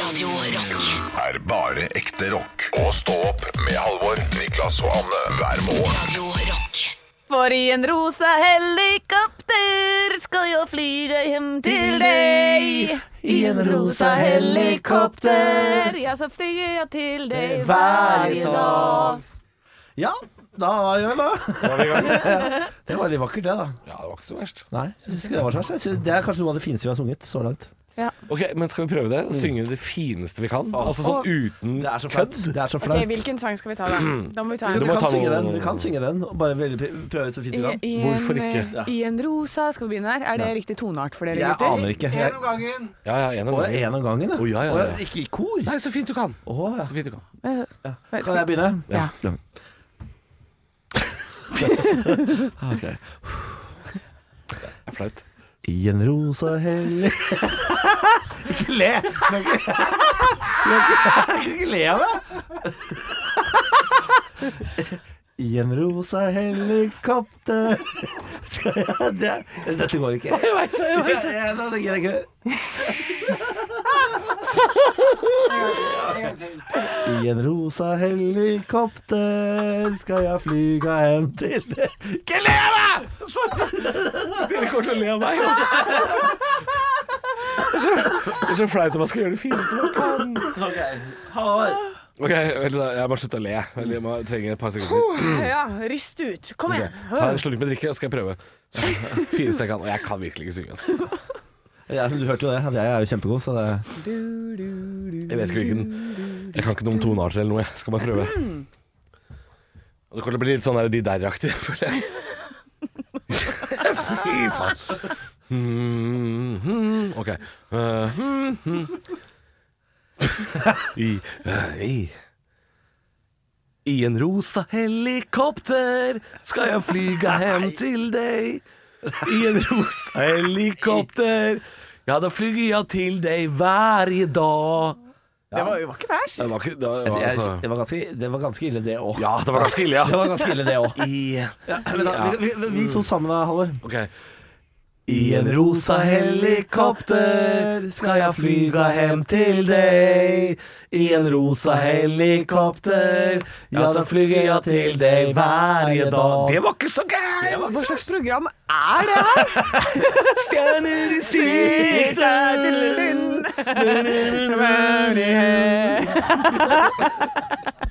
Radio Rock. er bare ekte rock. Og stå opp med Halvor, Niklas og Anne hver morgen. Radio Rock. For i en rosa helikopter skal jeg flyge hjem til deg. I en rosa helikopter, ja, så flyr jeg til deg hver dag. Ja, da var vi vel da. Det var litt vakkert, det, da. Ja, det var ikke så verst. Nei, jeg synes ikke det var så verst. Jeg synes Det er kanskje noe av det fineste vi har sunget så langt. Ok, Men skal vi prøve det? Synge det fineste vi kan? Altså sånn Åh. uten Det er så flaut. Det er så Ok, flaut. Hvilken sang skal vi ta, da? Da må vi ta Vi Du en. må kan ta synge noe- den, vi kan synge den og bare veldig pr- prøve så fint I, vi kan. i Hvorfor en, ikke? eh, I en rosa Skal vi begynne her? Er det riktig toneart for dere, Jeg gutter? aner ikke. Jeg, Ja, ja, en av å, gangen. en om gangen, Å, ja, ja, ja. Å, Ikke i kor? Nei, så fint du kan. Å, ja. Så fint du kan. Men Kan skal- jeg begynne? Ja. Det er flaut. I en rosa hellig Ikke le! Du kan ikke- du kan ikke le av meg! I en rosa helikopter Skal jeg- det, Dette går ikke. Jeg veit det. Jeg vet det. Jeg, det gidder jeg ikke. I en rosa helikopter skal jeg flyga hjem til deg. Ikke le av meg! Dere kommer til å le av meg. Det er så flaut om man skal gjøre det fineste man kan. Halvor. Ok, vent da, Jeg må slutte å le. Jeg må trenge et par sekunder. Ja, rist ut. Kom igjen. Ta en slurk med drikke, og så skal jeg prøve. Fineste jeg kan. Og jeg kan virkelig ikke synge. Altså. Ja, men du hørte jo det. Jeg er jo kjempegod, så det Jeg vet ikke hvilken Jeg kan ikke noe om tonearter eller noe. Jeg skal bare prøve. Og det kommer til å bli litt sånn der, de der-aktig, føler jeg. Fy faen. Mm, mm, OK. Eh, mm, mm. I, eh, i. I en rosa helikopter skal jeg flyge hjem til deg. I en rosa helikopter, ja, da flyger jeg til deg hver dag. Det var, det var ikke verst. Det var ikke det var, Jeg- jeg- altså, det, var ganske, det var ganske ille, det òg. Ja, det var ganske ille, Det ja. var ganske ille, det òg. I, Vi, vi, vi to sammen, da, Halvor. ok. I en rosa helikopter skal jeg flyga hjem til deg. I en rosa helikopter, ja, så flyger jeg til deg hver dag. Det var ikke så gærent! Hva slags program er det her? Stjerner i sikte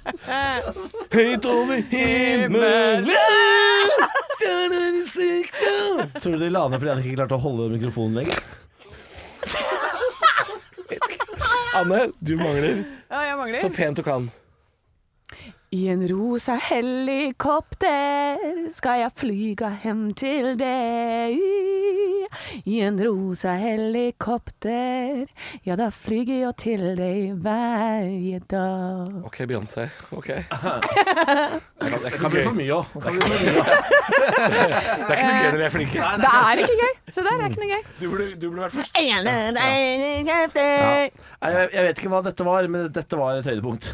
Høyt over himmelen, stjerner i sikte Tror du de la ned fordi han ikke klarte å holde mikrofonen lenger? Anne, du mangler Ja, jeg mangler. så pent du kan. I en rosa helikopter skal jeg flyga hjem til deg. I en rosa helikopter, ja da flyger jeg til deg hver dag. OK, Beyoncé. OK. Det er ikke- det er ikke Det så blir gøy for mye altså. òg. Det er ikke så gøy når vi er flinke. Det er ikke gøy. Se der, det er ikke noe gøy. Du burde, du burde vært først. Jeg, jeg vet ikke hva dette var, men dette var et høydepunkt.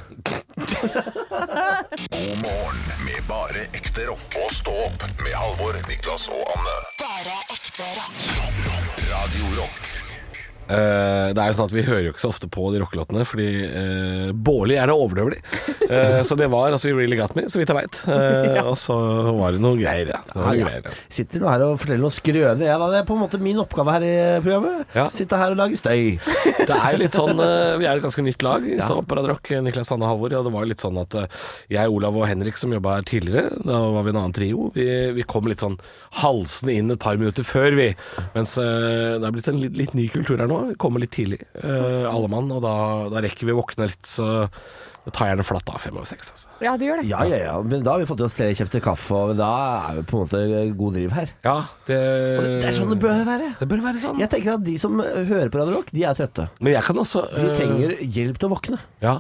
God morgen med bare ekte rock. Og stå opp med Halvor, Niklas og Anne. Bare ekte rock. Radio Rock Eh, det er jo sånn at Vi hører jo ikke så ofte på de rockelåtene, fordi eh, Bårli gjerne overdøver de. Eh, så det var altså You Really Got Me, så vidt jeg veit. Og så var det noe greier, ja. Det var noe Ja, ja. greier, ja. Sitter nå her og forteller noen skrøner. Jeg, da. Det er på en måte min oppgave her i programmet. Ja. Sitte her og lage støy. Det er jo litt sånn eh, Vi er et ganske nytt lag i ja. Paradrock, eh, Niklas Hanne Halvor. Og det var jo litt sånn at eh, jeg, Olav og Henrik som jobba her tidligere, da var vi en annen trio, vi, vi kom litt sånn halsende inn et par minutter før, vi. Mens eh, det er blitt en litt, litt ny kultur her nå. Vi kommer litt tidlig, eh, alle mann. Og da, da rekker vi å våkne litt, så da tar jeg gjerne flatt av fem over seks, altså. Ja, du gjør det. Ja, ja, ja. Men da har vi fått i oss tre kjefter kaffe, og da er vi på en måte god driv her. Ja, det, Og det, det er sånn det bør være. Det bør være sånn. Jeg tenker at de som hører på Radio Rock, de er trøtte. Men jeg kan også De eh, trenger hjelp til å våkne. Ja.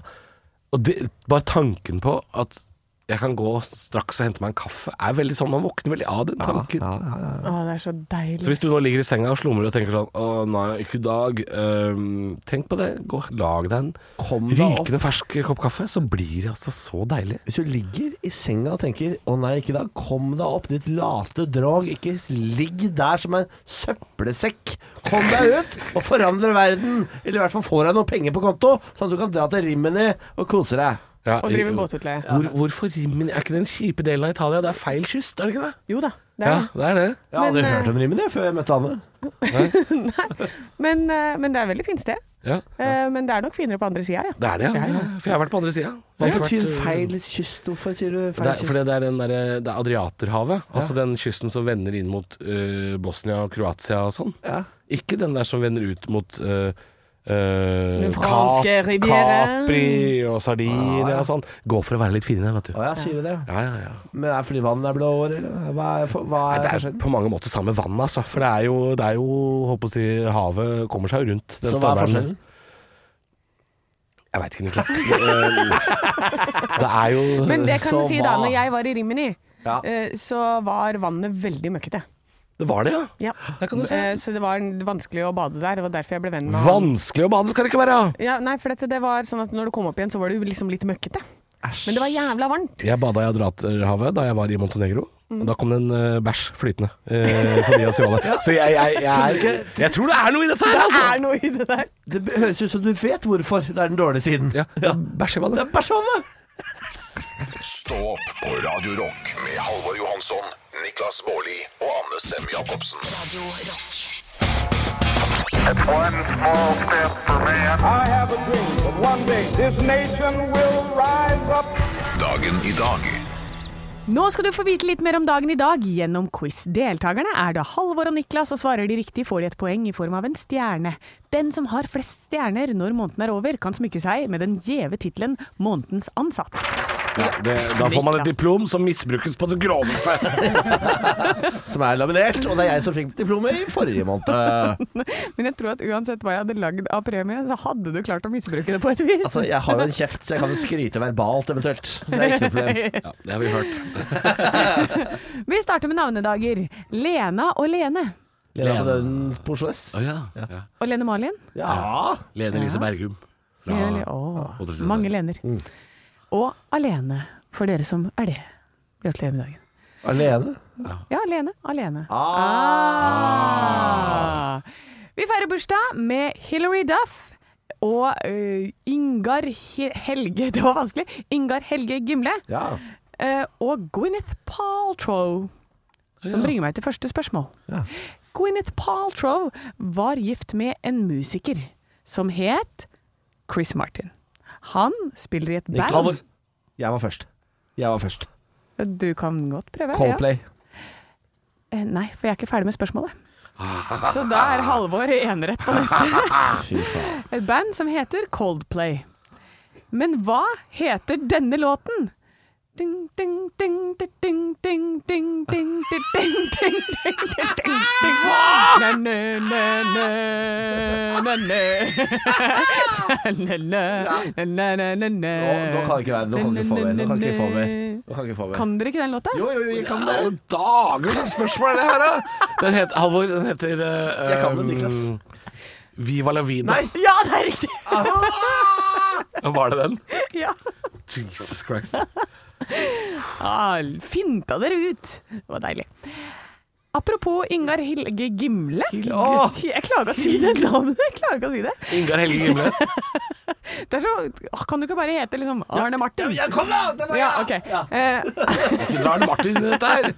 Og det, bare tanken på at jeg kan gå straks og hente meg en kaffe, er veldig sånn man våkner veldig av den tanken. Ja, ja, ja. Å, det er så Så deilig. hvis du nå ligger i senga og slumrer og tenker sånn Å nei, ikke i dag. øhm, tenk på det. Gå, lag deg en Kom deg opp. rykende fersk kopp kaffe, så blir det altså så deilig. Hvis du ligger i senga og tenker 'Å nei, ikke da', kom deg opp, ditt late drag. Ikke ligg der som en søppelsekk. Kom deg ut og forandre verden. Eller i hvert fall få deg noen penger på konto, sånn at du kan dra til Rimini og kose deg. Ja, Og drive båtutleie. Hvor, hvorfor Rimini? Er ikke den kjipe delen av Italia? Det er feil kyst, er det ikke det? Jo da, det Ja, er det. det er det. Jeg har Men, aldri eh, hørt om Rimini før jeg møtte Anne. Men, eh, men det er et veldig fint sted. Ja, Eh, Men det er nok finere på andre sida, ja. det er det, ja. For jeg har eh, øh, vært på andre sida. Hva betyr feil kyst? Hvorfor sier du Det feil er, kyst? fordi det er, den der, det er Adriaterhavet, altså den kysten som vender inn mot øh, Bosnia og Kroatia og sånn. Ja. Ikke den der som vender ut mot øh, øh, Den franske Cap- rivieraen. Capri og Sardinia og sånn. Gå for å være litt finere, vet du. Å ja, sier du det? Ja, ja, ja. Men er det fordi vannet er blå år, eller? Hva er, for, hva Nei, er, det er forskjellen? på mange måter samme vann, altså. For det er jo, det er jo holdt på å si, havet kommer seg jo rundt. den Så hva er støvelen. forskjellen? Jeg veit ikke, Niklas. Det, eh, det er jo Men det kan Så du si da, hva? når jeg var i Rimini, Ja. eh, så var vannet veldig møkkete. Det var det, Ja. ja. Der kan du se. Eh, Så det var vanskelig å bade der, og derfor jeg ble venn med han. Vanskelig å bade skal det ikke være! Ja, nei, for dette, det var sånn at når du kom opp igjen, så var det jo liksom litt møkkete. Men det var jævla varmt. Jeg bada i Adriaterhavet da jeg var i Montenegro. Og Da kom det en eh, bæsj flytende eh, forbi oss i ålet. Så jeg, jeg, jeg, er, jeg tror det er noe i dette her, Det altså! er noe i det der. Det b- høres ut som du vet hvorfor det er den dårlige siden. Ja, ja, bæsj i vannet. Det er personet! Stå opp på Radio Rock med Halvor Johansson, Niklas Baarli og Anne Sem Jacobsen. Radio Rock. It's one small step for man. I have a dream that one day this nation will rise up. Dagen i dag Nå skal du få vite litt mer om dagen i dag gjennom quiz. Deltakerne er da Halvor og Niklas, og svarer de riktig får de et poeng i form av en stjerne. Den som har flest stjerner når måneden er over, kan smykke seg med den gjeve tittelen Månedens ansatt. Ja, det, da får man et diplom som misbrukes på det groveste. Som er laminert, og det er jeg som fikk diplomet i forrige måned. Men jeg tror at uansett hva jeg hadde lagd av premie, så hadde du klart å misbruke det på et vis. Altså, jeg har jo en kjeft, så jeg kan jo skryte verbalt eventuelt. Det er ikke noe problem. Ja, det har vi hørt. Vi starter med navnedager. Lena og Lene. Lena på den på Oslo S. Ja. Og Lene Malin. Ja. Lene Lise Bergum. Ja, eller- åh, Hotell Cæsar. mange lener. Og alene, for dere som er det. Gratulerer med dagen. Alene. Ja, alene. Alene. Ah. Ah. Vi feirer bursdag med Hilary Duff og øh, Ingar He- Helge Det var vanskelig. Ingar Helge Gimle Ja. øh, og Gwyneth Paltrow. Som bringer meg til første spørsmål. Ja. Gwyneth Paltrow var gift med en musiker som het Chris Martin. Han spiller i et Niklas. band. Jeg var først. Jeg var først. Du kan godt prøve. ja. Coldplay. Eh, Nei, for jeg er ikke ferdig med spørsmålet. Så da er Halvor enerett på neste. Fy faen. Et band som heter Coldplay. Men hva heter denne låten? Ding, ding, ding, ding, ding, ding, ding, ding, ding, ding, ding, ding, ding, ding, ding. Næ, næ, næ, næ, næ, næ. Næ, næ, næ, næ, næ, næ. Nå, nå kan jeg ikke være Nå kan jeg ikke få mer. Nå kan jeg ikke få mer. Nå kan jeg ikke få mer. Kan dere ikke den låta? Jo, jo, jo, jeg kan det. Alle dager, hva spørsmål er det her, da? Den heter, Halvor, den heter eh, Jeg kan den, Niklas. um, Viva la vida. Nei. Ja, det er riktig! Var det den? Ja. Jesus Christ. Ah, finta dere ut! Det var deilig. Apropos Ingar Helge Gimle. Åh! Jeg klarer ikke å si det navnet! Jeg klarer ikke å si det. Ingar Helge Gimle. det er så, Åh, kan du ikke bare hete liksom Arne Martin? Ja, kom da! Det var Ja, jeg. ok. Eh, Ikke drar den Martin i dette her.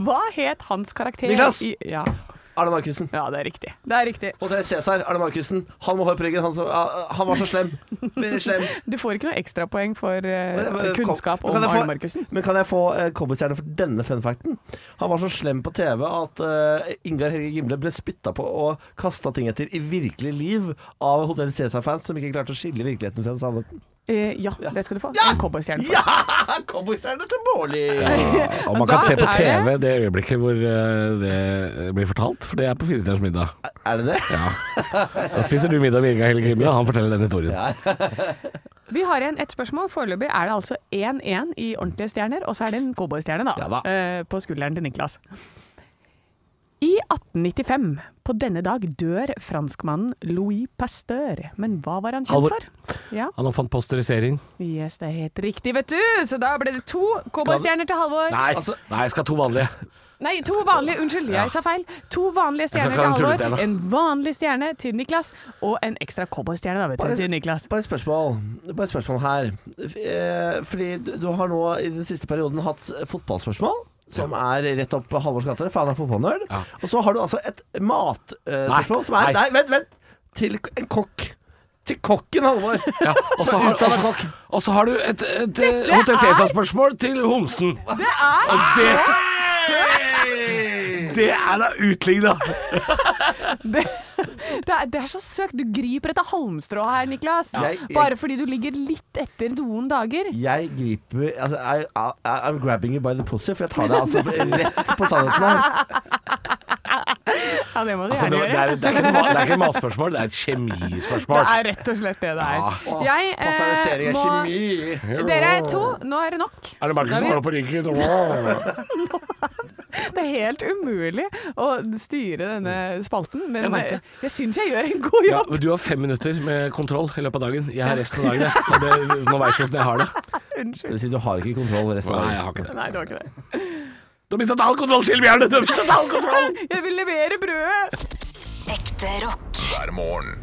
hva het hans karakter Niklas! i ja. Arne Markussen. ja, det er riktig. Det er riktig. Hotell Cæsar. Arne Markussen. Han må hår på ryggen. Han, som, ah, han var så slem. Veldig slem. Du får ikke noe ekstrapoeng for eh, Men, men, kunnskap kom- om men kan jeg få- Arne Markussen. Men kan jeg få eh, cowboystjerne for denne funfacten? Han var så slem på TV at eh, Ingar Helge Gimle ble spytta på og kasta ting etter i virkelig liv av Hotell Cæsar-fans som ikke klarte å skille virkeligheten fra sannheten. Eh, ja, det skal du få. En cowboystjerne. Ja! Cowboystjerne til Bårli! Og man Da kan se på er TV det øyeblikket hvor eh, det blir fortalt, for det er på Firestjerners middag. Er det det? Da spiser du middag med Ingar Helge Gimle, og han forteller den historien. Vi har igjen ett spørsmål. Foreløpig er det altså 1-1 i ordentlige stjerner, og så er det en cowboystjerne da, Ja da. eh, på skulderen til Niklas. I 1895, på denne dag, dør franskmannen Louis Pasteur. Men hva var han kjent Halvor. for? Ja, Han oppfant pasteurisering. yes, det er helt riktig, vet du! Så da ble det to cowboystjerner til Halvor. Nei, altså- nei, jeg skal ha to vanlige. Nei, to vanlige, unnskyld, jeg sa feil. To vanlige skal stjerner ikke til ha en Halvor, tullestjerne. en vanlig stjerne til Niklas, og en ekstra cowboystjerne da, vet Bare- du, til Niklas. Bare et spørsmål, bare et spørsmål her. Eh, Fordi du- du har nå i den siste perioden hatt fotballspørsmål. Som er rett opp Halvors gate, for han er fotballnerd. Ja. Og så har du altså et matspørsmål som er Nei, nei. vent, vent! Til k- en kokk. Til kokken Halvor. Ja, og så har, Utdannet og så- kokk. og så har du et, et eh, Hotel Cæsar-spørsmål til Homsen. Det er og det, det er da utligna! Det, det, er, det er så søkt. Du griper etter halmstrå her, Niklas. Jeg- jeg- Bare fordi du ligger litt etter noen dager. Jeg griper altså, I, I, I'm grabbing you by the pussy, for jeg tar deg altså rett på sannheten her. Ja, det må du Altså, det, gjerne det, gjøre. er, det, er ikke, et ma- det er ikke et matspørsmål, det er et Det kjemispørsmål. er rett og slett det det er. Jeg eh, må Dere to, nå er det nok. Er det Markus som har det på ryggen? Wow. Det er helt umulig å styre denne spalten, men Jeg vet jeg, det. jeg syns jeg gjør en god Ja, jobb. men du har fem minutter med kontroll i løpet av dagen. Jeg har resten av dagen, jeg. Og det, nå veit du åssen jeg har det. Det vil si, du har ikke kontroll resten av Nei, jeg dagen. har ikke det. Nei, det var ikke det. Du har mistet all kontroll, Kjell Bjarne! Du har mistet all kontroll! Jeg vil levere brødet! Ekte rock. hver morgen.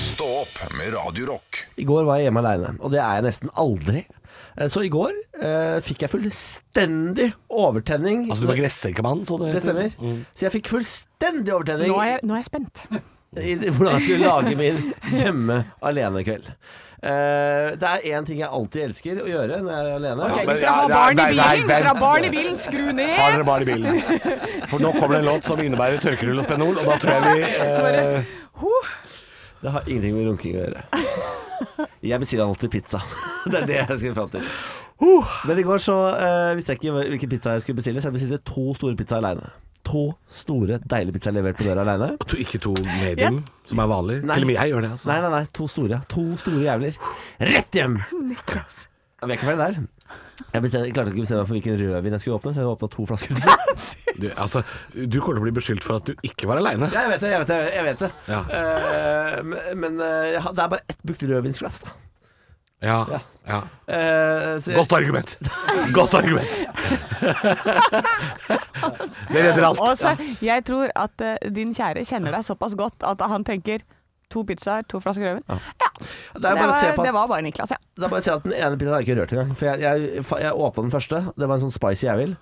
Stå opp med Radio Rock. I går var jeg hjemme aleine, og det er jeg nesten aldri. Eh, Så i går eh, fikk jeg fullstendig overtenning. Altså, du var Mm. gressenkemann, så det det stemmer. Så jeg fikk fullstendig overtenning Nå er jeg, nå er jeg spent. i det- hvordan jeg skulle lage min hjemme alene-kveld. Eh, det er én ting jeg alltid elsker å gjøre når jeg er alene. Ok. Ok, men- hvis dere har ja, barn i nei, nei, bilen, hvis vent. dere har barn i bilen, skru Har ned! dere bare i bilen. For nå kommer det en låt som innebærer tørkerull og spenol, og da tror jeg vi eh, Ho. Det har ingenting med runking å gjøre. Jeg bestiller alltid pizza. Det er det jeg skal fram til. Uh, Men i går så eh, visste jeg ikke hva- hvilken pizza jeg skulle bestille, så jeg bestilte to store pizzaer aleine. To store, deilige pizzaer levert på døra aleine. to, Ikke to medium, som er vanlig. Nei. Til og med jeg gjør det. Altså. Nei, nei, nei, to store. To store jævler. Rett hjem! Jeg vet ikke hva det er. Jeg, bestemte, jeg klarte ikke å bestemme meg for hvilken rødvin jeg skulle åpne, så jeg åpna to flasker. Du, altså, du kommer til å bli beskyldt for at du ikke var aleine. Ja, jeg vet det, jeg vet det. Jeg vet det. Ja. Eh, men- men eh, jeg har- det er bare ett brukt rødvinsglass, da. Ja. ja. Eh, så jeg- Godt argument. Godt argument. Det redder alt. Og så, jeg tror at eh, din kjære kjenner deg såpass godt at han tenker to pizzaer, to flasker rødvin. Ja. det er det, bare å se var, på det var bare Niklas, ja. Det er bare å si at Den ene pizzaen har jeg ikke rørt engang. For jeg, jeg, fa- jeg åpna den første. Det var en sånn spicy jævel.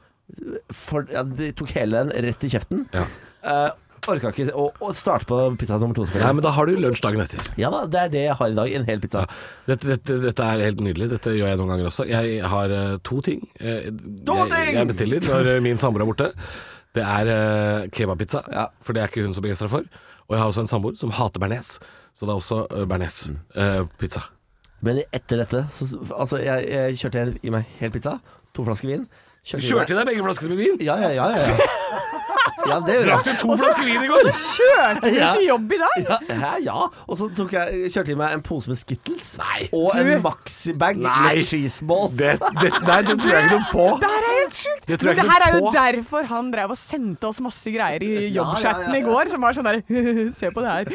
For, ja, de tok hele den rett i kjeften. Ja. Eh, Orka ikke å å starte på pizza nummer to. Nei, selvfølgelig. men da har du lunsj dagen etter. Ja da, det er det jeg har i dag. En hel pizza. Dette, dette, dette er helt nydelig. Dette gjør jeg noen ganger også. Jeg har eh, to ting. eh, Jeg, ting! jeg bestiller når eh, min samboer er borte. Det er eh, kebabpizza, Ja. for det er ikke hun så begeistra for. Og jeg har også en samboer som hater bearnés, så det er også eh, bearnés-pizza. Men etter dette så, Altså, jeg, jeg kjørte en- i meg hel pizza. To flasker vin. Kjørte i deg begge flaskene med vin? Ja, ja, ja. ja, ja. ja det gjorde jeg. Drakk du to flasker vin i går? Kjørte du Ja. til jobb i dag? Ja, hæ, ja. Og så tok jeg, kjørte jeg i meg en pose med Skittles Nei. og en Du- maxibag Nei. med cheeseballs. Det, det, nei, det tror jeg ikke noe på. Det her er helt sjukt! Det tror Men jeg det ikke her er jo på. derfor han drev og sendte oss masse greier i Ja, jobbchatten ja, ja. i går, som var sånn der Se på det her.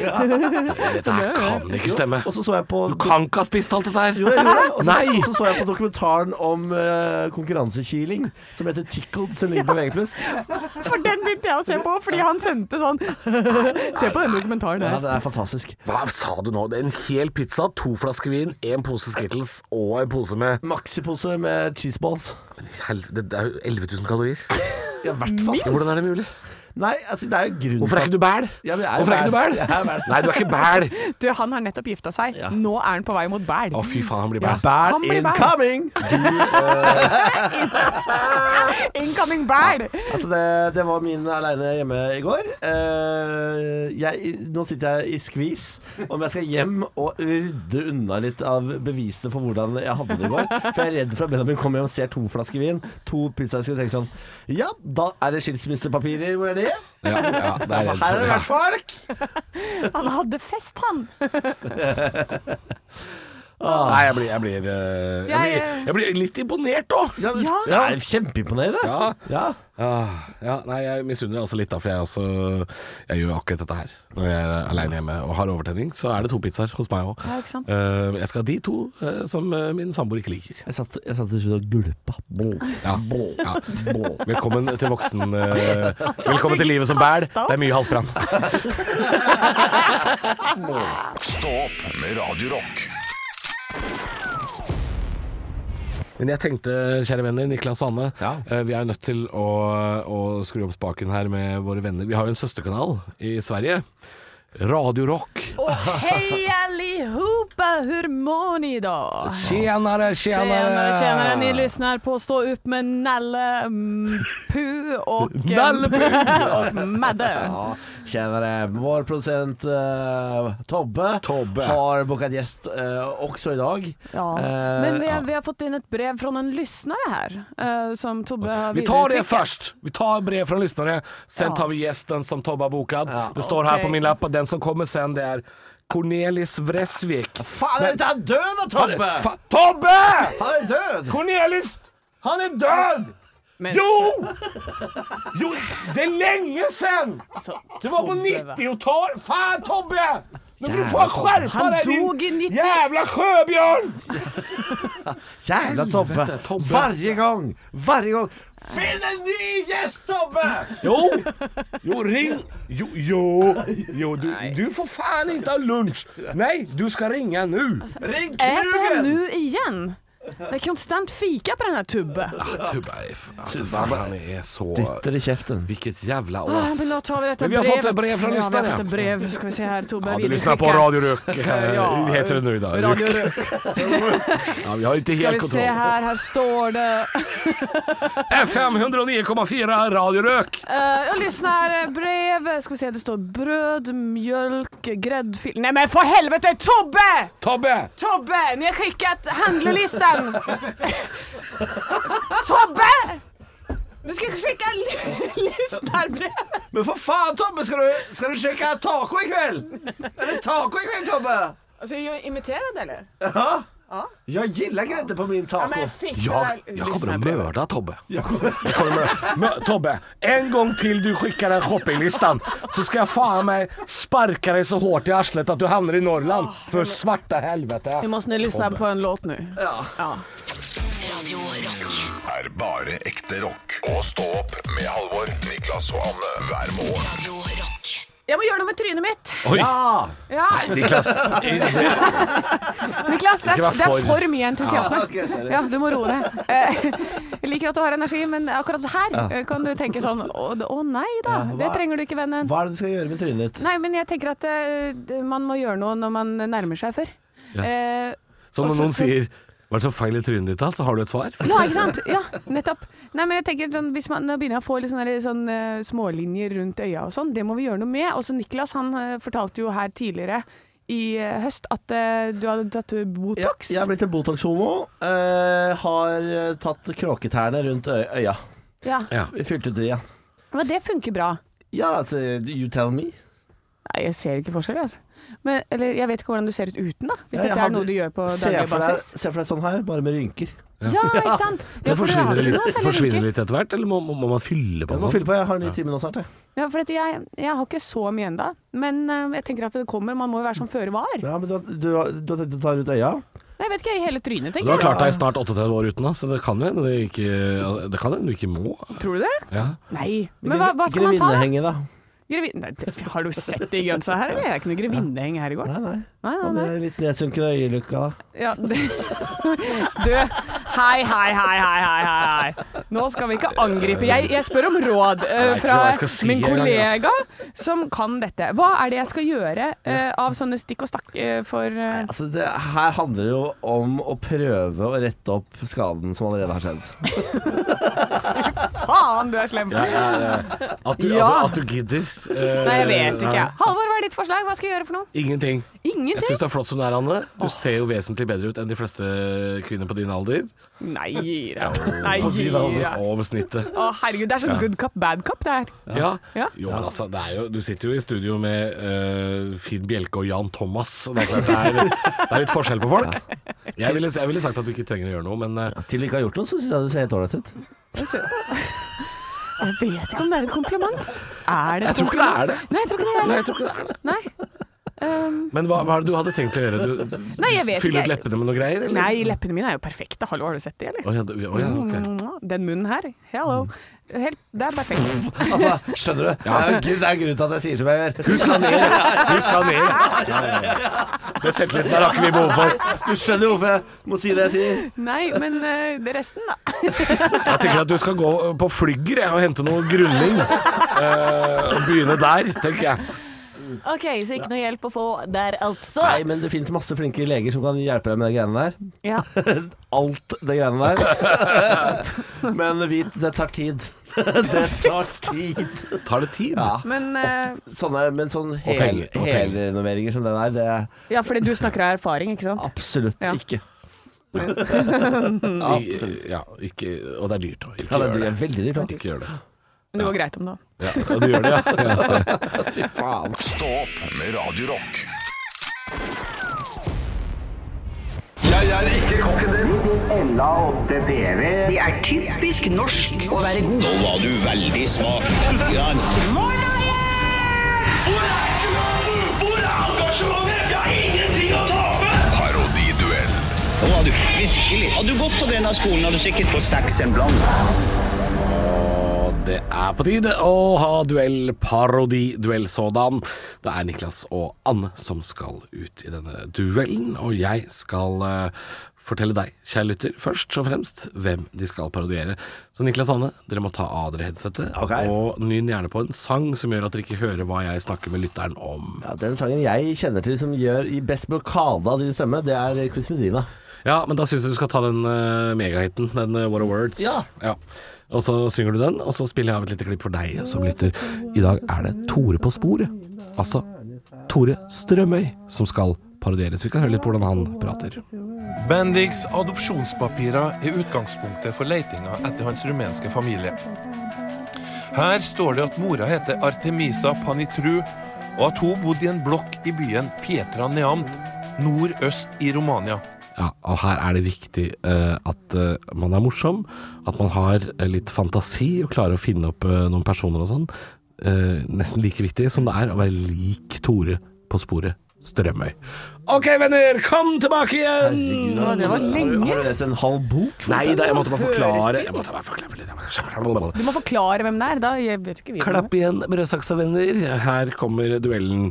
Dette her kan ikke stemme. Og så så jeg på Du kan ikke ha spist alt dette Jo, jeg her. gjorde det. Og så, Nei. og så så jeg på dokumentaren om eh, konkurransekiling, som heter Tickled, som ligger på VG+. For den begynte jeg å se på, fordi han sendte sånn Se på den dokumentaren Ja, der. det er fantastisk. Hva sa du nå? Det er En hel pizza, to flasker vin, en pose Skittles og en pose med Maxipose med cheeseballs. Helvete, Det er jo 11 000 kalorier. Ja, I hvert fall. Hvordan er det mulig? Nei, altså, det er jo grunnen Hvorfor er ikke du bæl? Ja, men jeg er Hvorfor er ikke du bæl. bæl? Jeg er bæl. Nei, du er ikke bæl. Du, han har nettopp gifta seg. Nå er han på vei mot Bæl. Å, fy faen, han blir Han bæl. Bad blir bad. incoming! Incoming Bæl! Altså det, det var min aleine hjemme i går. Eh, jeg, nå sitter jeg i skvis om jeg skal hjem og rydde unna litt av bevisene for hvordan jeg hadde det i går. For jeg er redd for at Benjamin kommer hjem og ser to flasker vin, to pizzaer, og tenker sånn Ja, da er det skilsmissepapirer, hvor er det? Ja, ja, det er For her redd for har det vært folk! Han hadde fest, han. Nei, jeg blir, jeg blir, eh, jeg blir, Jeg, eh, jeg blir litt imponert òg. Ja, Ja. det er kjempeimponerende. Ja. Ja. Ah, ja, nei, jeg misunner deg også litt, da, for jeg, også, jeg gjør akkurat dette her. Når jeg er aleine hjemme og har overtenning, så er det to pizzaer hos meg òg. Ja, ikke sant? jeg skal ha de to eh, som eh, min samboer ikke liker. Jeg satt, jeg satt til slutt og gulpa. Blå, Ja. blå, Ja. blå. Velkommen til voksen eh, Velkommen til livet som bæl. Det er mye halsbrann. Stå opp med Radio Rock. Men jeg tenkte, kjære venner, Niklas og Anne, Ja. eh, vi er jo nødt til å, å skru opp spaken her med våre venner. Vi har jo en søsterkanal i Sverige. Radio Rock. Hej allihopa, hur mår ni idag? Tjenere, Tjenare, tjenere! tjenare, ni lyssnar på Stå upp med Nalle, mm, Puh och, eh, Nalle och Madde. Ja, tjenare. Vår producent eh, Tobbe, Tobbe. har bokat gäst eh, också idag. Ja. Eh, Men vi ja. har, vi har fått in ett brev från en lyssnare här eh, som Tobbe har Vi tar det vidareutskickat. först. Vi tar brev från lyssnare. Sen Ja. tar vi gästen som Tobbe har bokat. Det står här Okej. på min lapp att den som kommer sen det är Cornelis Vresvik. Fan, är inte han död då Tobbe? Fa- Tobbe! Han är död! Cornelis! Han är död! Men- Jo! jo! Det är länge sen! Det var på Altså, Tobbe, va? 90-talet. Fan Tobbe! Nu får du Jävla fan skärpa Han dig dog i din 90. jävla sjöbjörn! Jävla Tobbe. Tobbe. Varje gång, varje gång. Finn en ny gäst Tobbe! Jo! Jo, ring! Jo, jo, jo du, du får fan inte ha lunch! Nej, du ska ringa nu! Altså, Ring Äter han Knugen! nu igen? Det är konstant fika på den här Tubbe. Alltså, fan, altså, han är så... Dytter i käften. Vilket jävla Ah, men as. då tar vi detta Men vi har brevet. fått ett brev från ja, Vi lyssnare. har fått ett brev, ska vi se här. Tobbe Ja, har du lyssnar på vidareskickat. Radio Rök, eh, Ja, heter det nu då. Radio Rök. Rök. Ja, vi har inte Ska helt vi se kontroll. här, här står det. FM 109,4 Radio Rök. Eh, jag lyssnar, brev, ska vi se, det står bröd, mjölk, gräddfil. Nej men för helvete Tobbe! Tobbe! Tobbe, ni har skickat handlelistan! Tobbe! Du ska skicka li- lyssnarbrev! Men för fan Tobbe, ska du, ska du käka taco ikväll? Är det taco ikväll Tobbe? Alltså, är jag imiterad eller? Jag gillar grädde på min taco. fick Jag, jag kommer att mörda Tobbe. Jag kommer att mörda. Mö- Tobbe, en gång till du skickar den shoppinglistan så ska jag fan mig sparka dig så hårt i arslet att du hamnar i Norrland. För svarta helvete. Nu måste ni lyssna på en låt nu. ja. Radio Rock. Er bare ekte rock. Og stå opp med Halvor, Niklas og Anne hver morgen. Radio Rock. Jeg må gjøre noe med trynet mitt! Oj, Ja! Ja. Niklas. Niklas, det Ikke er, vær det er for- for mye entusiasme. Ja, du må roe deg. Eh, Jeg liker at du har energi, men akkurat her eh, kan du tenke sånn Å å nei da, Ja, hva- det trenger du ikke, vennen. Hva er det du skal gjøre med trynet? Nei, men jeg tenker at eh, det- man må gjøre noe når man nærmer seg før. Ja. Eh, Som Og når så- noen så- sier Hva er det som feil i trynet ditt da? Så har du et svar. ja, ikke sant? Ja, nettopp. Nei, men jeg tenker sånn, hvis man, Nå begynner jeg å få litt sånne, der, sånn, eh, smålinjer rundt øya og sånn. Det må vi gjøre noe med. Og så Niklas, han eh, fortalte jo her tidligere i eh, høst at eh, du hadde tatt Botox. Ja, jeg er blitt en Botox-homo. eh, har eh, tatt kråketærne rundt ø- øya. Ja. Ja. Fylt ut øya. Men det funker bra. Ja, altså, you tell me. Nei, jeg ser ikke forskjell, altså. Men, eller jeg vet ikke hvordan du ser ut uten, da. Hvis Ja, jeg dette har- er noe du gjør på Se daglig for, deg, basis. se for deg sånn her, bare med rynker. Ja, ikke sant? Ja, Det for du har forsvinner ikke noe litt, særlig forsvinner rynker. litt etter hvert, eller må, må, må man fylle på Jeg må sånn? noe? fylle på, jeg har en ny time nå snart. Jeg. Ja, for at jeg, jeg har ikke så mye ennå. Men eh, jeg tenker at det kommer. Man må jo være som føre var. Ja, men du, har- du, har- du har tenkt å ta rundt øya? Nei, jeg vet ikke, i hele trynet, Du har tenker jeg. klart deg i snart 38 år uten, da, så det kan jo hende du ikke- det kan hende du ikke må. Tror du det? Ja. Nei. Men hva, hva skal man ta? da? Grevinnehenget, da? Grevin... Nei, det- har du sett det i gønsa her, eller? Det er ikke noe grevinneheng her i går. Nei, nei. Nei, Ja, nei, det nei. er litt nedsunken øyelukka, da. Ja, det... Du, hei, hei, hei, hei, hei, hei, hei. Nå skal vi ikke angripe. Jeg, jeg spør om råd eh, vet ikke fra hva jeg skal si altså. min engang, kollega som kan dette. Hva er det jeg skal gjøre eh, av sånne stikk og stakk eh, for eh, Altså, det her handler det jo om å prøve å rette opp skaden som allerede har skjedd. Faen, du er slem. At, du, altså, Ja. at, du, at du gidder. eh, Nei, jeg vet ikke. Halvor, hva er ditt forslag? Hva skal jeg gjøre for noe? Ingenting. Jeg Ingenting. syns det er flott som det er, Anne. Du ser jo vesentlig bedre ut enn de fleste kvinner på din alder. Nei da. Nei da. Over snittet. Å, herregud, det er sånn good cup, bad cup det her. Ja. Ja. Jo, men altså, det er jo, du sitter jo i studio med eh, Finn Bjelke og Jan Thomas. Og det, er klart, det, er, det er litt forskjell på folk. Jeg ville, jeg ville sagt at vi ikke trenger å gjøre noe, men eh, Til du ikke har gjort noe, så syns jeg du ser helt ålreit ut. Jeg vet ikke om det er et kompliment. Er det jeg et tror ikke det kompliment? er det. Nei, jeg tror ikke det er Nei, det. jeg tror ikke det er det. Nei. Um, Men hva, hva er det du hadde tenkt å gjøre? Du, du Nei, jeg vet fylle ikke. ut leppene med noe greier, eller? nei, leppene mine er jo perfekte. Hallo, har du sett de, eller? Mm, Å ja, du- å ja, ok. Den munnen her. Hello. Helt, det er perfekt. Altså, skjønner du? Ja. Det er jo- Det er grunnen til at jeg sier som jeg gjør. Hun skal ned! Hun skal ned. Ja, ja, ja. Det selvtilliten der har ikke vi behov for. Du skjønner hvorfor jeg må si det jeg sier. Nei, men eh, det resten, da. Jeg tenker at du skal gå på flygger jeg, og hente noe grunning. Eh, og begynne der, tenker jeg. OK, så ikke noe hjelp å få der, altså. Nei, men det finnes masse flinke leger som kan hjelpe deg med de greiene der. Ja. Alt det greiene der. Men vit, det tar tid. Det tar tid. Tar det tid? Ja. Men eh, Sånne, men sånn hel- penger, og penger. helrenoveringer som den der, det er Ja, fordi du snakker av erfaring, ikke sant? absolutt Ja. ikke. I, ja, ikke, og det er dyrt òg. Ja, Ikke, det gjør det er det. veldig dyrt. da. ikke gjør det. Men det går greit om det òg. Ja, og du gjør det, ja. ja. Fy faen. Stå opp med Radio Rock. Parodiduell. Og hadde du virkelig Hadde du gått på denne skolen, hadde du sikkert fått seks en blant. Og det er på tide å ha duell, parodi, duell sådan. Det er Niklas og Anne som skal ut i denne duellen, og jeg skal eh, fortelle deg, kjære lytter, først og fremst hvem de skal parodiere. Så Niklas og Anne, dere må ta av dere headsetet, Ok. og nynn gjerne på en sang som gjør at dere ikke hører hva jeg snakker med lytteren om. Ja, den sangen jeg kjenner til som gjør i best blokade av din stemme, det er Chris Medina. Ja, men da syns jeg du skal ta den eh, megahiten, den eh, What a Words. Ja. Og så synger du den, og så spiller jeg av et lite klipp for deg som lytter. I dag er det Tore på sporet, altså Tore Strømøy, som skal parodieres. Vi kan høre litt på hvordan han prater. Bendiks adopsjonspapirer er utgangspunktet for letinga etter hans rumenske familie. Her står det at mora heter Artemisa Panitru, og at hun bodde i en blokk i byen Pietra Neamt, nordøst i Romania. Ja, og her er det viktig eh, at eh, man er morsom, at man har eh, litt fantasi og klarer å finne opp eh, noen personer og sånn. Eh, nesten like viktig som det er å være lik Tore på sporet Strømøy. OK, venner, kom tilbake igjen! Herregud, det var har du- lenge. Har du lest en halv bok? Nei da, jeg måtte bare forklare. Hørespill. Jeg måtte bare forklare litt. Jeg måtte- Du må forklare hvem det er. Da jeg vet ikke vi hvem Klapp igjen, brødsaksa venner. Her kommer duellen.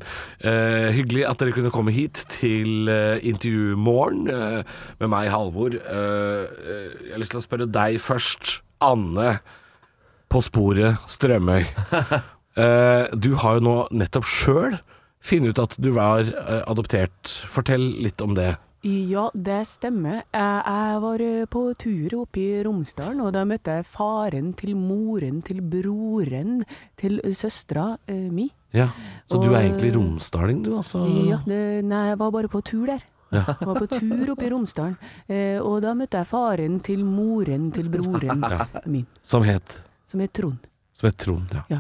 Eh, hyggelig at dere kunne komme hit til eh, intervjumorgen eh, med meg, Halvor. Eh, eh, jeg har lyst til å spørre deg først. Anne på sporet Strømøy. Eh, du har jo nå nettopp sjøl funnet ut at du var eh, adoptert. Fortell litt om det. Ja, det stemmer. Jeg, jeg var eh, på tur oppe i Romsdalen, og da møtte jeg faren til moren til broren til søstera eh, mi. Ja, Så du er Og- egentlig romsdaling, du, altså? Ja, det, nei, jeg var bare på tur der. Jeg var på tur oppe i Romsdalen, eh, og da møtte jeg faren til moren til broren min, Som het som het Trond. Som het Trond, ja. Ja.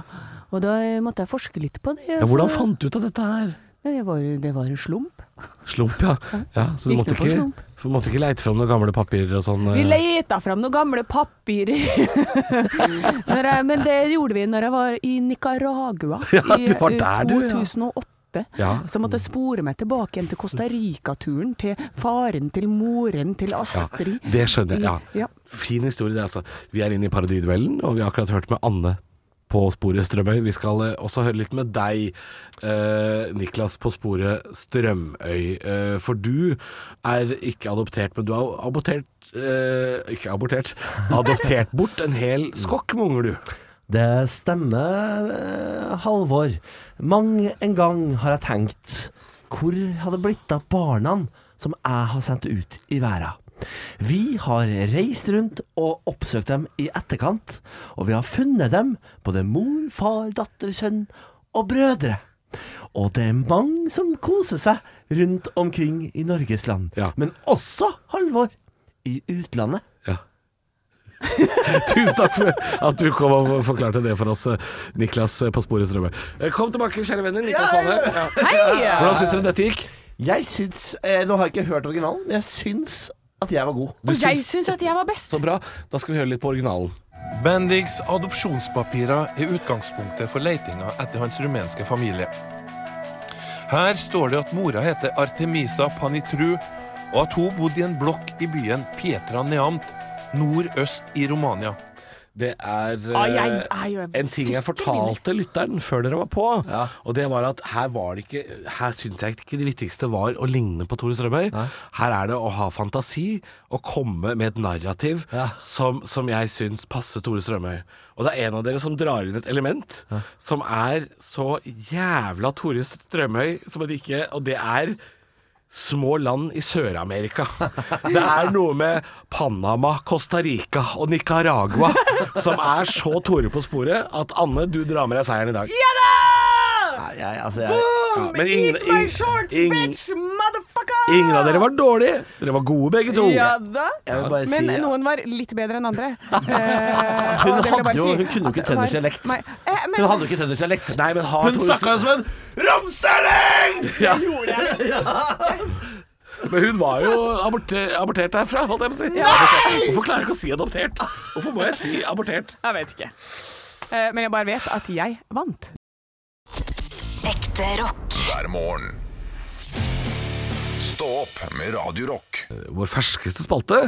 Og da eh, måtte jeg forske litt på det. ja. så- Hvordan fant du ut av dette her? Nei, Det var, det var slump. Slump, ja. ja så du Gikk måtte det for ikke, slump? for måtte ikke leite fram noen gamle papirer og sånn? Vi eh? leita fram noen gamle papirer. når jeg, men det gjorde vi når jeg var i Nicaragua Ja, det var i eh, der du, ja. 2008. Ja. Så måtte jeg spore meg tilbake igjen til Costa Rica-turen, til faren til moren til Astrid. Det skjønner jeg, I- ja. ja. Fin historie det, altså. Vi er inne i parodiduellen, og vi har akkurat hørt med Anne på sporet Strømøy. Vi skal eh, også høre litt med deg, eh, Niklas på sporet Strømøy. Eh, for du er ikke adoptert, men du har abortert eh, Ikke abortert. Adoptert bort en hel skokk med unger, du. Det stemmer, eh, Halvor. Mang en gang har jeg tenkt hvor hadde blitt av barna som jeg har sendt ut i verden. Vi har reist rundt og oppsøkt dem i etterkant, og vi har funnet dem, både mor, far, datter, sønn og brødre. Og det er mange som koser seg rundt omkring i Norges land, Ja. men også, Halvor, i utlandet. Ja. Tusen takk for at du kom og forklarte det for oss, eh, Niklas eh, på sporet Strømøy. Eh, Kom tilbake, kjære venner. Niklas Anne. Ja. Hei! Hvordan syns dere dette gikk? Jeg syns eh, Nå har jeg ikke hørt originalen, men jeg syns at jeg var god. Og jeg syns at jeg var best. Så bra. Da skal vi høre litt på originalen. Bendiks adopsjonspapirer er utgangspunktet for letinga etter hans rumenske familie. Her står det at mora heter Artemisa Panitru, og at hun bodde i en blokk i byen Pietra Neamt, nordøst i Romania. Det er eh, Ah, jeg er jo en ting jeg sikker fortalte lytteren før dere var på. Og det var at her var det ikke Her syns jeg ikke det viktigste var å ligne på Tore Strømøy. Her er det å ha fantasi og komme med et narrativ som, som jeg syns passer Tore Strømøy. Og det er en av dere som drar inn et element som er så jævla Tore Strømøy som det ikke Og det er små land i Sør-Amerika. Det er noe med Panama, Costa Rica og Nicaragua som er så Tore på sporet at Anne, du drar med deg seieren i dag. Ja da! Nei, jeg, altså, jeg, Ja, Boom! men ingen- Eat my ingen- shorts, ingen- bitch! Motherfucker! Ingen av dere var dårlige. Dere var gode begge to. Ja da. jeg vil bare Men si noen var litt bedre enn andre. Eh, og det vil jeg hadde bare jo- si hun kunne jo ikke at det var- tennersdialekt. Nei, eh, men- Hun hadde jo ikke tøndersdialekt. Nei, men har Hun Tore snakka jo som en romsterning! ja. Men hun var jo aborter, abortert herfra, holdt jeg på å si. Abortert. Hvorfor klarer jeg ikke å si adoptert? Hvorfor må jeg si abortert? Jeg vet ikke. Eh, Men jeg bare vet at jeg vant. Ekte rock. hver morgen. Stå opp med Radio Rock. Vår ferskeste spalte,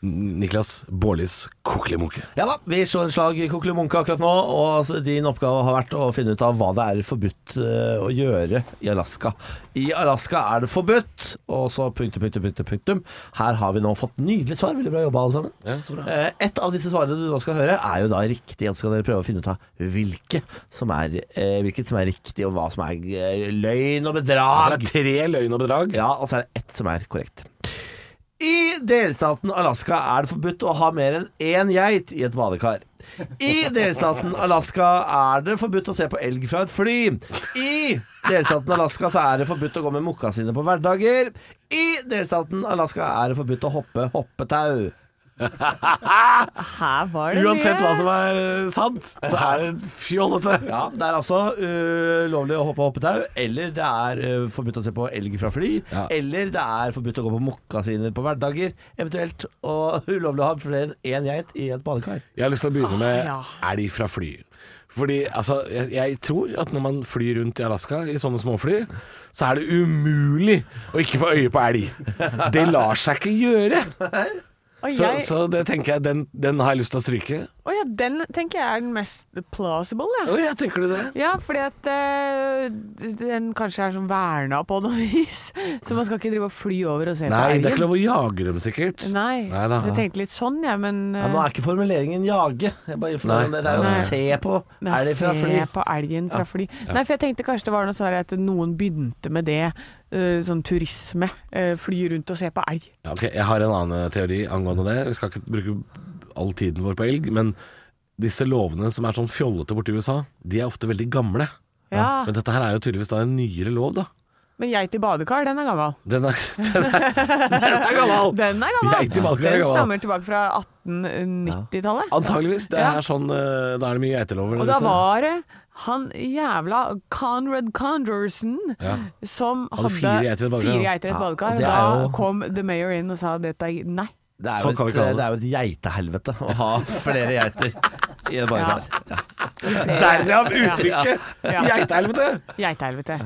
Niklas Baarlis kokelimunke. Ja da, vi slår et slag i Kokkelimunke akkurat nå, og altså, din oppgave har vært å finne ut av hva det er forbudt eh, å gjøre i Alaska. I Alaska er det forbudt, og så punktum, punktum, punktum, punktum. Her har vi nå fått nydelig svar, veldig bra jobba alle sammen. Ja, så bra. Eh, Et av disse svarene du nå skal høre er jo da riktig, og så skal dere prøve å finne ut av hvilke som er, eh, hvilket som er riktig, og hva som er eh, løgn og bedrag. Det er tre løgn og bedrag. Ja, og så er det ett som er korrekt. I delstaten Alaska er det forbudt å ha mer enn én geit i et badekar. I delstaten Alaska er det forbudt å se på elg fra et fly. I delstaten Alaska så er det forbudt å gå med mokka sine på hverdager. I delstaten Alaska er det forbudt å hoppe hoppetau. Her var det Uansett hva mye. som er eh, sant, så er det fjollete. Ja, Det er altså øh, lovlig å hoppe hoppetau, eller det er øh, forbudt å se på elg fra fly, Ja. eller det er forbudt å gå på mokkasiner på hverdager, eventuelt, og ulovlig å ha flere enn én geit i et badekar. Jeg har lyst til å begynne med ja. elg fra fly. Fordi altså, jeg, jeg tror at når man flyr rundt i Alaska i sånne småfly, så er det umulig å ikke få øye på elg. Det lar seg ikke gjøre. Og Så, jeg, så det tenker jeg, den, den har jeg lyst til å stryke. og ja, den tenker jeg er den mest plausible, jeg. Å, ja, tenker du det? Ja, fordi at eh, den kanskje er sånn verna på noe vis. Så man skal ikke drive og fly over og se Nei, på det er ikke elgen. lov å jage dem, sikkert. Nei, Nei da. så jeg tenkte litt sånn, jeg, men Ja, nå er ikke formuleringen 'jage', jeg bare informerer om Nei. det. Det er jo Nei. å se på Men elg fra fly. Se på elgen fra fly. Nei, for jeg tenkte kanskje det var noe sånn at noen begynte med det. eh, sånn turisme. eh, fly rundt og se på elg. Ja, ok, jeg har en annen teori angående det. Vi skal ikke bruke all tiden vår på elg, men disse lovene som er sånn fjollete borti USA, de er ofte veldig gamle. Ja. Men dette her er jo tydeligvis da en nyere lov, da. Men geit i badekar, den er gammel. Den er, den er, den er gammel! Den er gammel! Geit i badekar er den gammel. stammer tilbake fra 1890-tallet. Antageligvis. Det Ja. er sånn, eh, da er det mye geitelover. Og da var det han jævla Conrad Condorson som Hadde hadde fire geiter i et badekar, fire ja. geiter i et Ja, og badekar. det Og er da jo- kom the mayor inn og sa dette er Nei. Det er, Sånn kan jo vi et, kalle det. det er jo et geitehelvete å ha flere geiter i et badekar. Derav uttrykket! Ja. Eh. Geitehelvete! Geitehelvete.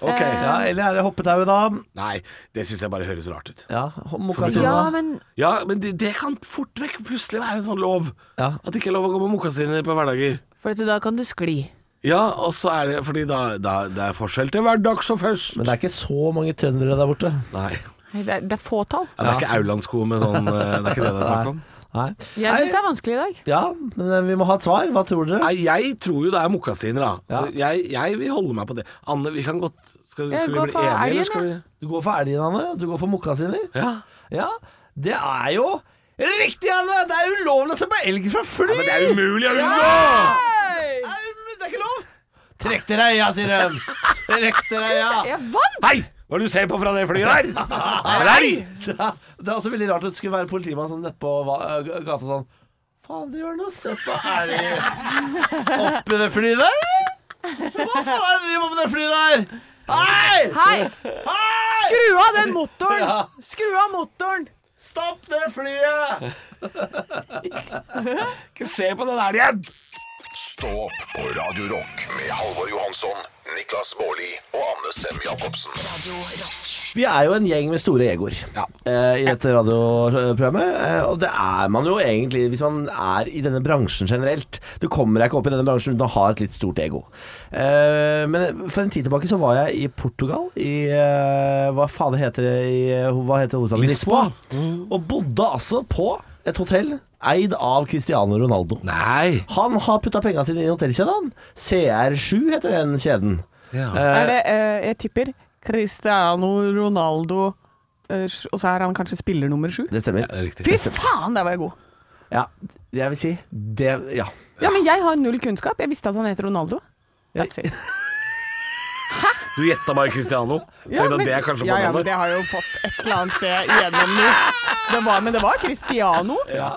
Ok. Ja, eller er det hoppetau, da? Nei, det syns jeg bare høres rart ut. Ja, mokkasiner. Ja, da. men Ja, men det, det kan fort vekk plutselig være en sånn lov. Ja. At det ikke er lov å gå med mokkasiner på hverdager. For at da kan du skli. Ja, og så er det fordi da, da det er forskjell til hverdags og fest. Men det er ikke så mange trøndere der borte. Nei. Nei, Det er, det er fåtall. Ja, det er ikke Aurlandsko med sånn eh, Det er ikke det det er snakk om. Nei. Jeg syns det er vanskelig i dag. Ja, men eh, vi må ha et svar. Hva tror dere? Nei, jeg tror jo det er mokkasiner, da. Så jeg, jeg vil holde meg på det. Anne, vi kan godt Skal, Jeg skal vi går bli for enige, elgen, eller skal vi Du går for elgen, Anne. Du går for mokkasiner. Ja. Ja, det er jo Riktig, Anne! Det er ulovlig å se på elg fra fly! Men det er umulig å unngå! Det er um- det er ikke lov! Trekk dere øya, sier hun. Trekk dere øya. Jeg vant! Hei! Hva er det du ser på fra det flyet der? Er det elg? Det er også veldig rart at det skulle være en politimann sånn nedpå va- ø, gata sånn Faen, driver han og ser på elg oppi det flyet der? Hva faen driver man med det flyet der? Hei! Hei! Hei! Skru av den motoren! Skru av motoren! Stopp det flyet! Ikke se på den der igjen! Stå opp på Radio Rock med Halvor Johansson, Niklas Baarli og Anne Sem Jacobsen. Vi er jo en gjeng med store egoer eh, i dette radioprogrammet. Eh, og det er man jo egentlig hvis man er i denne bransjen generelt. Du kommer deg ikke opp i denne bransjen uten å ha et litt stort ego. Eh, men for en tid tilbake så var jeg i Portugal, i eh, Hva fader heter det i eh, Hva heter hovedstaden? Lisboa. Og bodde altså på et hotell eid av Cristiano Ronaldo. Nei. Han har putta penga sine i hotellkjeden. han. CR7 heter den kjeden. Ja. Eh, Er det, eh, jeg tipper, Cristiano Ronaldo, eh, sj- og så er han kanskje spiller nummer sju? det stemmer. Det er riktig. Fy faen, der var jeg god! Ja, jeg vil si det Ja. Ja, men jeg har null kunnskap. Jeg visste at han heter Ronaldo. That's it. Du gjetta bare Cristiano. Ja, Tenkte at men- det er kanskje ja, ja, men fornavnet. det har jo fått et eller annet sted gjennom noe. Det var, men det var Cristiano. Ja.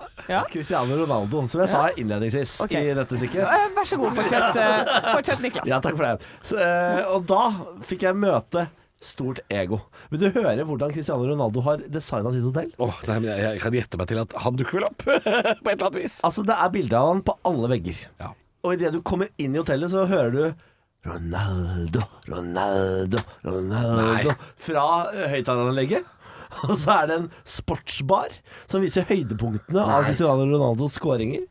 Cristiano Ronaldo, som jeg sa innledningsvis Ok. i dette stykket. Eh, Vær så god, fortsett, eh, fortsett Niklas. Ja, takk for det. Så, eh, og da fikk jeg møte stort ego. Vil du høre hvordan Cristiano Ronaldo har designa sitt hotell? Åh, nei, men jeg, jeg kan gjette meg til at han dukker vel opp på et eller annet vis. Altså, det er bilde av han på alle vegger. Ja. Og idet du kommer inn i hotellet, så hører du Ronaldo, Ronaldo, Ronaldo Nei. fra eh, høyttaleranlegget. Og så er det en sportsbar som viser høydepunktene av Cristiano Ronaldos skåringer.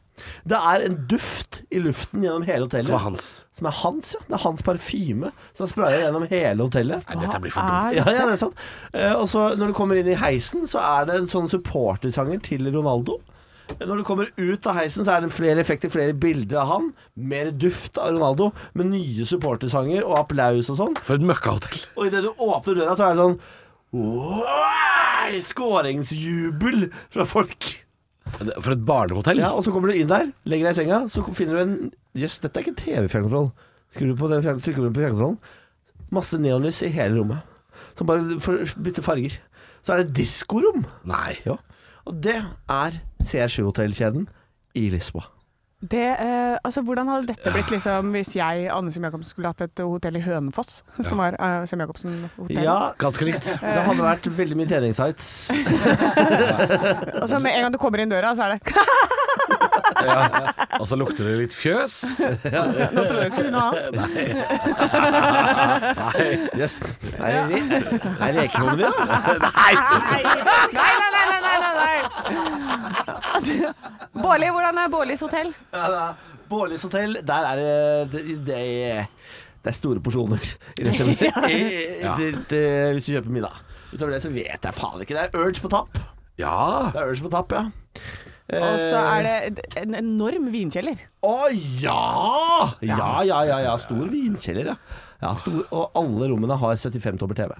Det er en duft i luften gjennom hele hotellet. Som er hans. Som er hans, ja. Det er hans parfyme som sprayer gjennom hele hotellet. Nei, dette blir for Hva dumt. er- Ja, ja, det er sant. Eh, Og så når du kommer inn i heisen, så er det en sånn supportersanger til Ronaldo. Eh, Når du kommer ut av heisen, så er det flere effekter, flere bilder av han. Mer duft av Ronaldo, med nye supportersanger og applaus og sånn. For et møkkahotell. Og idet du åpner døra, så er det sånn «Wow!» Skåringsjubel fra folk. For et barnehotell. Ja, Og så kommer du inn der, legger deg i senga, så finner du en Jøss, dette er ikke TV-fjernkontroll. Skrur du på den, fjern- trykker du på fjernkontrollen. Masse neonlys i hele rommet, som bare for, bytter farger. Så er det diskorom. Nei. Ja. Og det er CR7-hotellkjeden i Lisboa. Det, eh, altså, hvordan hadde dette blitt liksom, hvis jeg, Anne Sem Jacobsen, skulle hatt et hotell i Hønefoss? Som var eh, Sem Jacobsen-hotell. Ja, Ganske likt. det hadde vært veldig mye treningssites. Og så med en gang du kommer inn døra, så er det Ja. Og så lukter det litt fjøs. Nå trodde jeg du skulle si noe annet. Jøss. Er det er det lekerommet ditt? Nei, nei, nei, nei, nei, nei, nei. Bårli, hvordan er Bårlis hotell? Ja, det er Bårlis hotell, der er det Det, det, det er store porsjoner. i det som- i- det- det- Hvis du kjøper middag. Utover det så vet jeg faen ikke. Det er urge på tapp. Ja. Det er urge på tapp, ja. Eh, Og så er det en enorm vinkjeller. Å ja! Ja, ja, ja. ja. Stor vinkjeller, ja. ja stor, og alle rommene har 75 tommer TV.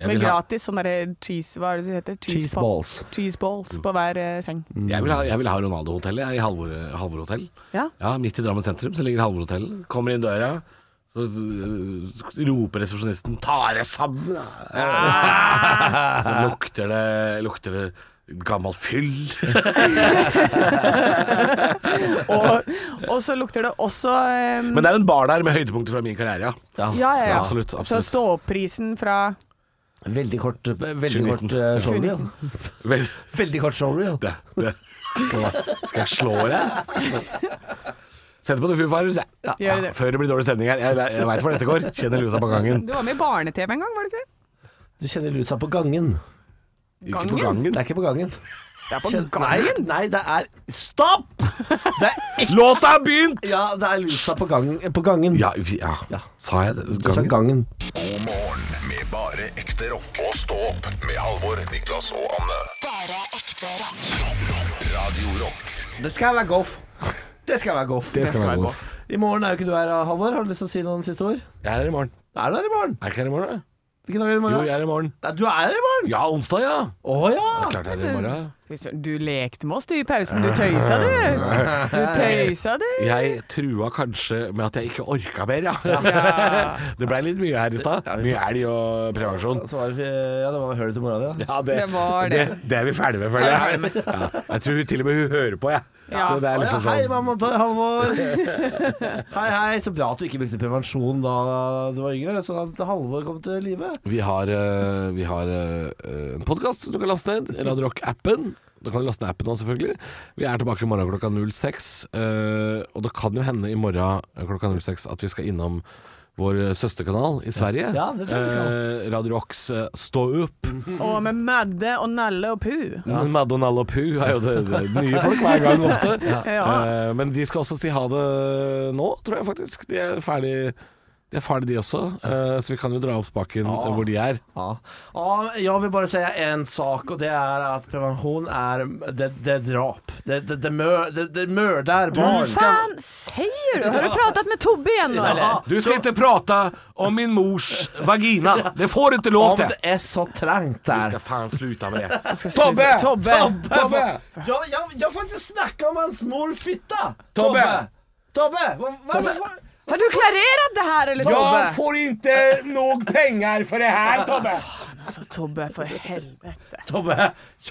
Jeg Med vil, ha, gratis sånn derre cheese Hva er det det heter? Cheese pop- balls. Cheese balls på hver eh, seng. jeg vil ha, jeg vil ha Ronaldo-hotellet jeg, i Halvor, Halvor hotell. Ja. Ja, midt i Drammen sentrum så ligger Halvorhotellet. Kommer inn døra, så øh, roper resepsjonisten 'ta dere sammen', da!» Så lukter det, lukter det gammel fyll. Og, og så lukter det også eh, Men det er en bar der med høydepunkter fra min karriere, ja. Ja, ja, ja. Absolutt, Så absolutt. ståprisen fra Veldig kort, veldig 2019. kort eh, showreel. Vel, Veldig kort showreel. det, det. Skal jeg slå deg? Sett på noen Foo Fighters, jeg. Gjør det. Før det blir dårlig stemning her. Jeg, jeg veit hvor dette går. Kjenner lusa på gangen. Du var med i barne-TV en gang, var du ikke det? Du kjenner lusa på gangen. Ikke på gangen. Det er ikke på gangen. Det er på Kjenn- gangen! Nei, nei, det er Stopp! Det er ikke Låta har begynt! Ja, det er lusa på, gang, på gangen. Ja, vi- ja. Ja. Sa jeg det? Du sa gangen. God morgen med bare ekte rock. Og stå opp med Halvor, Niklas og Anne. Bare ekte rock. Radio Rock Det skal være golf. Det skal være golf. Det skal være godt. I morgen er jo ikke du her, Halvor. Har du lyst til å si noen siste ord? Jeg er her i morgen. Er du her i morgen? Er jeg ikke her i morgen, da? Hvilken dag er det i Jo, morgen? jeg er her i morgen. Nei, Du er her i morgen? Ja, onsdag, ja. Å ja! Klart jeg er her i morgen. Fy søren, Du lekte med oss du i pausen. Du tøysa, du. Du tøysa, du. Jeg trua kanskje med at jeg ikke orka mer, ja. det blei litt mye her i stad. Mye elg og prevensjon. Så var det, ja, det var hølet til mora di, da. Ja, det, Det var det. det er vi ferdig med, føler jeg. Ja, jeg tror hun- til og med hun hører på, jeg. Ja. Så det Å er ja, liksom hei, sånn mamma til Halvor! hei, hei. Så bra at du ikke brukte prevensjon da du var yngre, sånn at Halvor kom til live. Vi har, eh, vi har eh, en podkast du kan laste ned. Radio Rock-appen. Da kan du laste ned appen også, selvfølgelig. Vi er tilbake i morgen klokka 06. eh, og det kan jo hende i morgen eh, klokka 06 at vi skal innom vår eh, søsterkanal i Sverige. Ja, det tror jeg vi skal. Eh, Radio Rocks eh, Stå opp. Og med Madde og Nalle og Pu. Men Madonna og Pooh er jo det, det er nye folk hver gang ofte. Ja. Eh, men de skal også si ha det nå, tror jeg faktisk. De er ferdig, de, er ferdig, de også. Eh, så vi kan jo dra opp spaken eh, hvor de er. Ja. Ja, jag vill bara säga en sak och det är att prevention är det, det drap. Det, det, det, mör, det, det mördar barn. Faen, sier du? Har du pratet med Tobbe igjen nå, eller? Du skal ikke prate om min mors vagina. Det får du ikke Om lov til. det är så trangt där. faen slutte med det. Tobbe! Tobbe! Tobbe! Jag, jag, jag får inte snacka om hans mor fitta! Tobbe! Tobbe! Vad- vad- Har du klarert det her, eller, Tobbe? Jeg får ikke nok penger for det her, Tobbe. Altså, Tobbe, for helvete. Tobbe!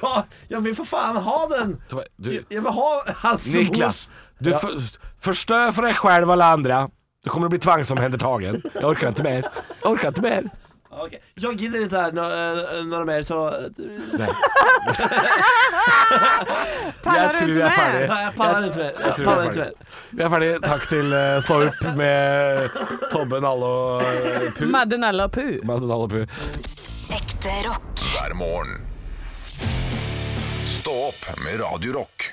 Ja, jag vill för fan ha den! Tobbe, Jag, du, jag vill ha hans Niklas. mors... Du for, förstör för dig själv och alla andra. Du kommer att bli tvangsomhändertagen. Jag orkar inte mer. Jag orkar inte mer. Okej, Jag gillar inte det här nå- eh, några mer så... Paller du tror vi ikke er med? ferdig. Nej, jag pallar inte mer. Jag tror jag pallar är inte mer. färdig. Vi er ferdig. Takk til eh, Stå opp med Tobbe, Nalle og eh, Pu. Madde, Nalle og Pu. Madde, Nalle og Pu. Ekte rock. hver morgen. Stå opp med Radio Rock.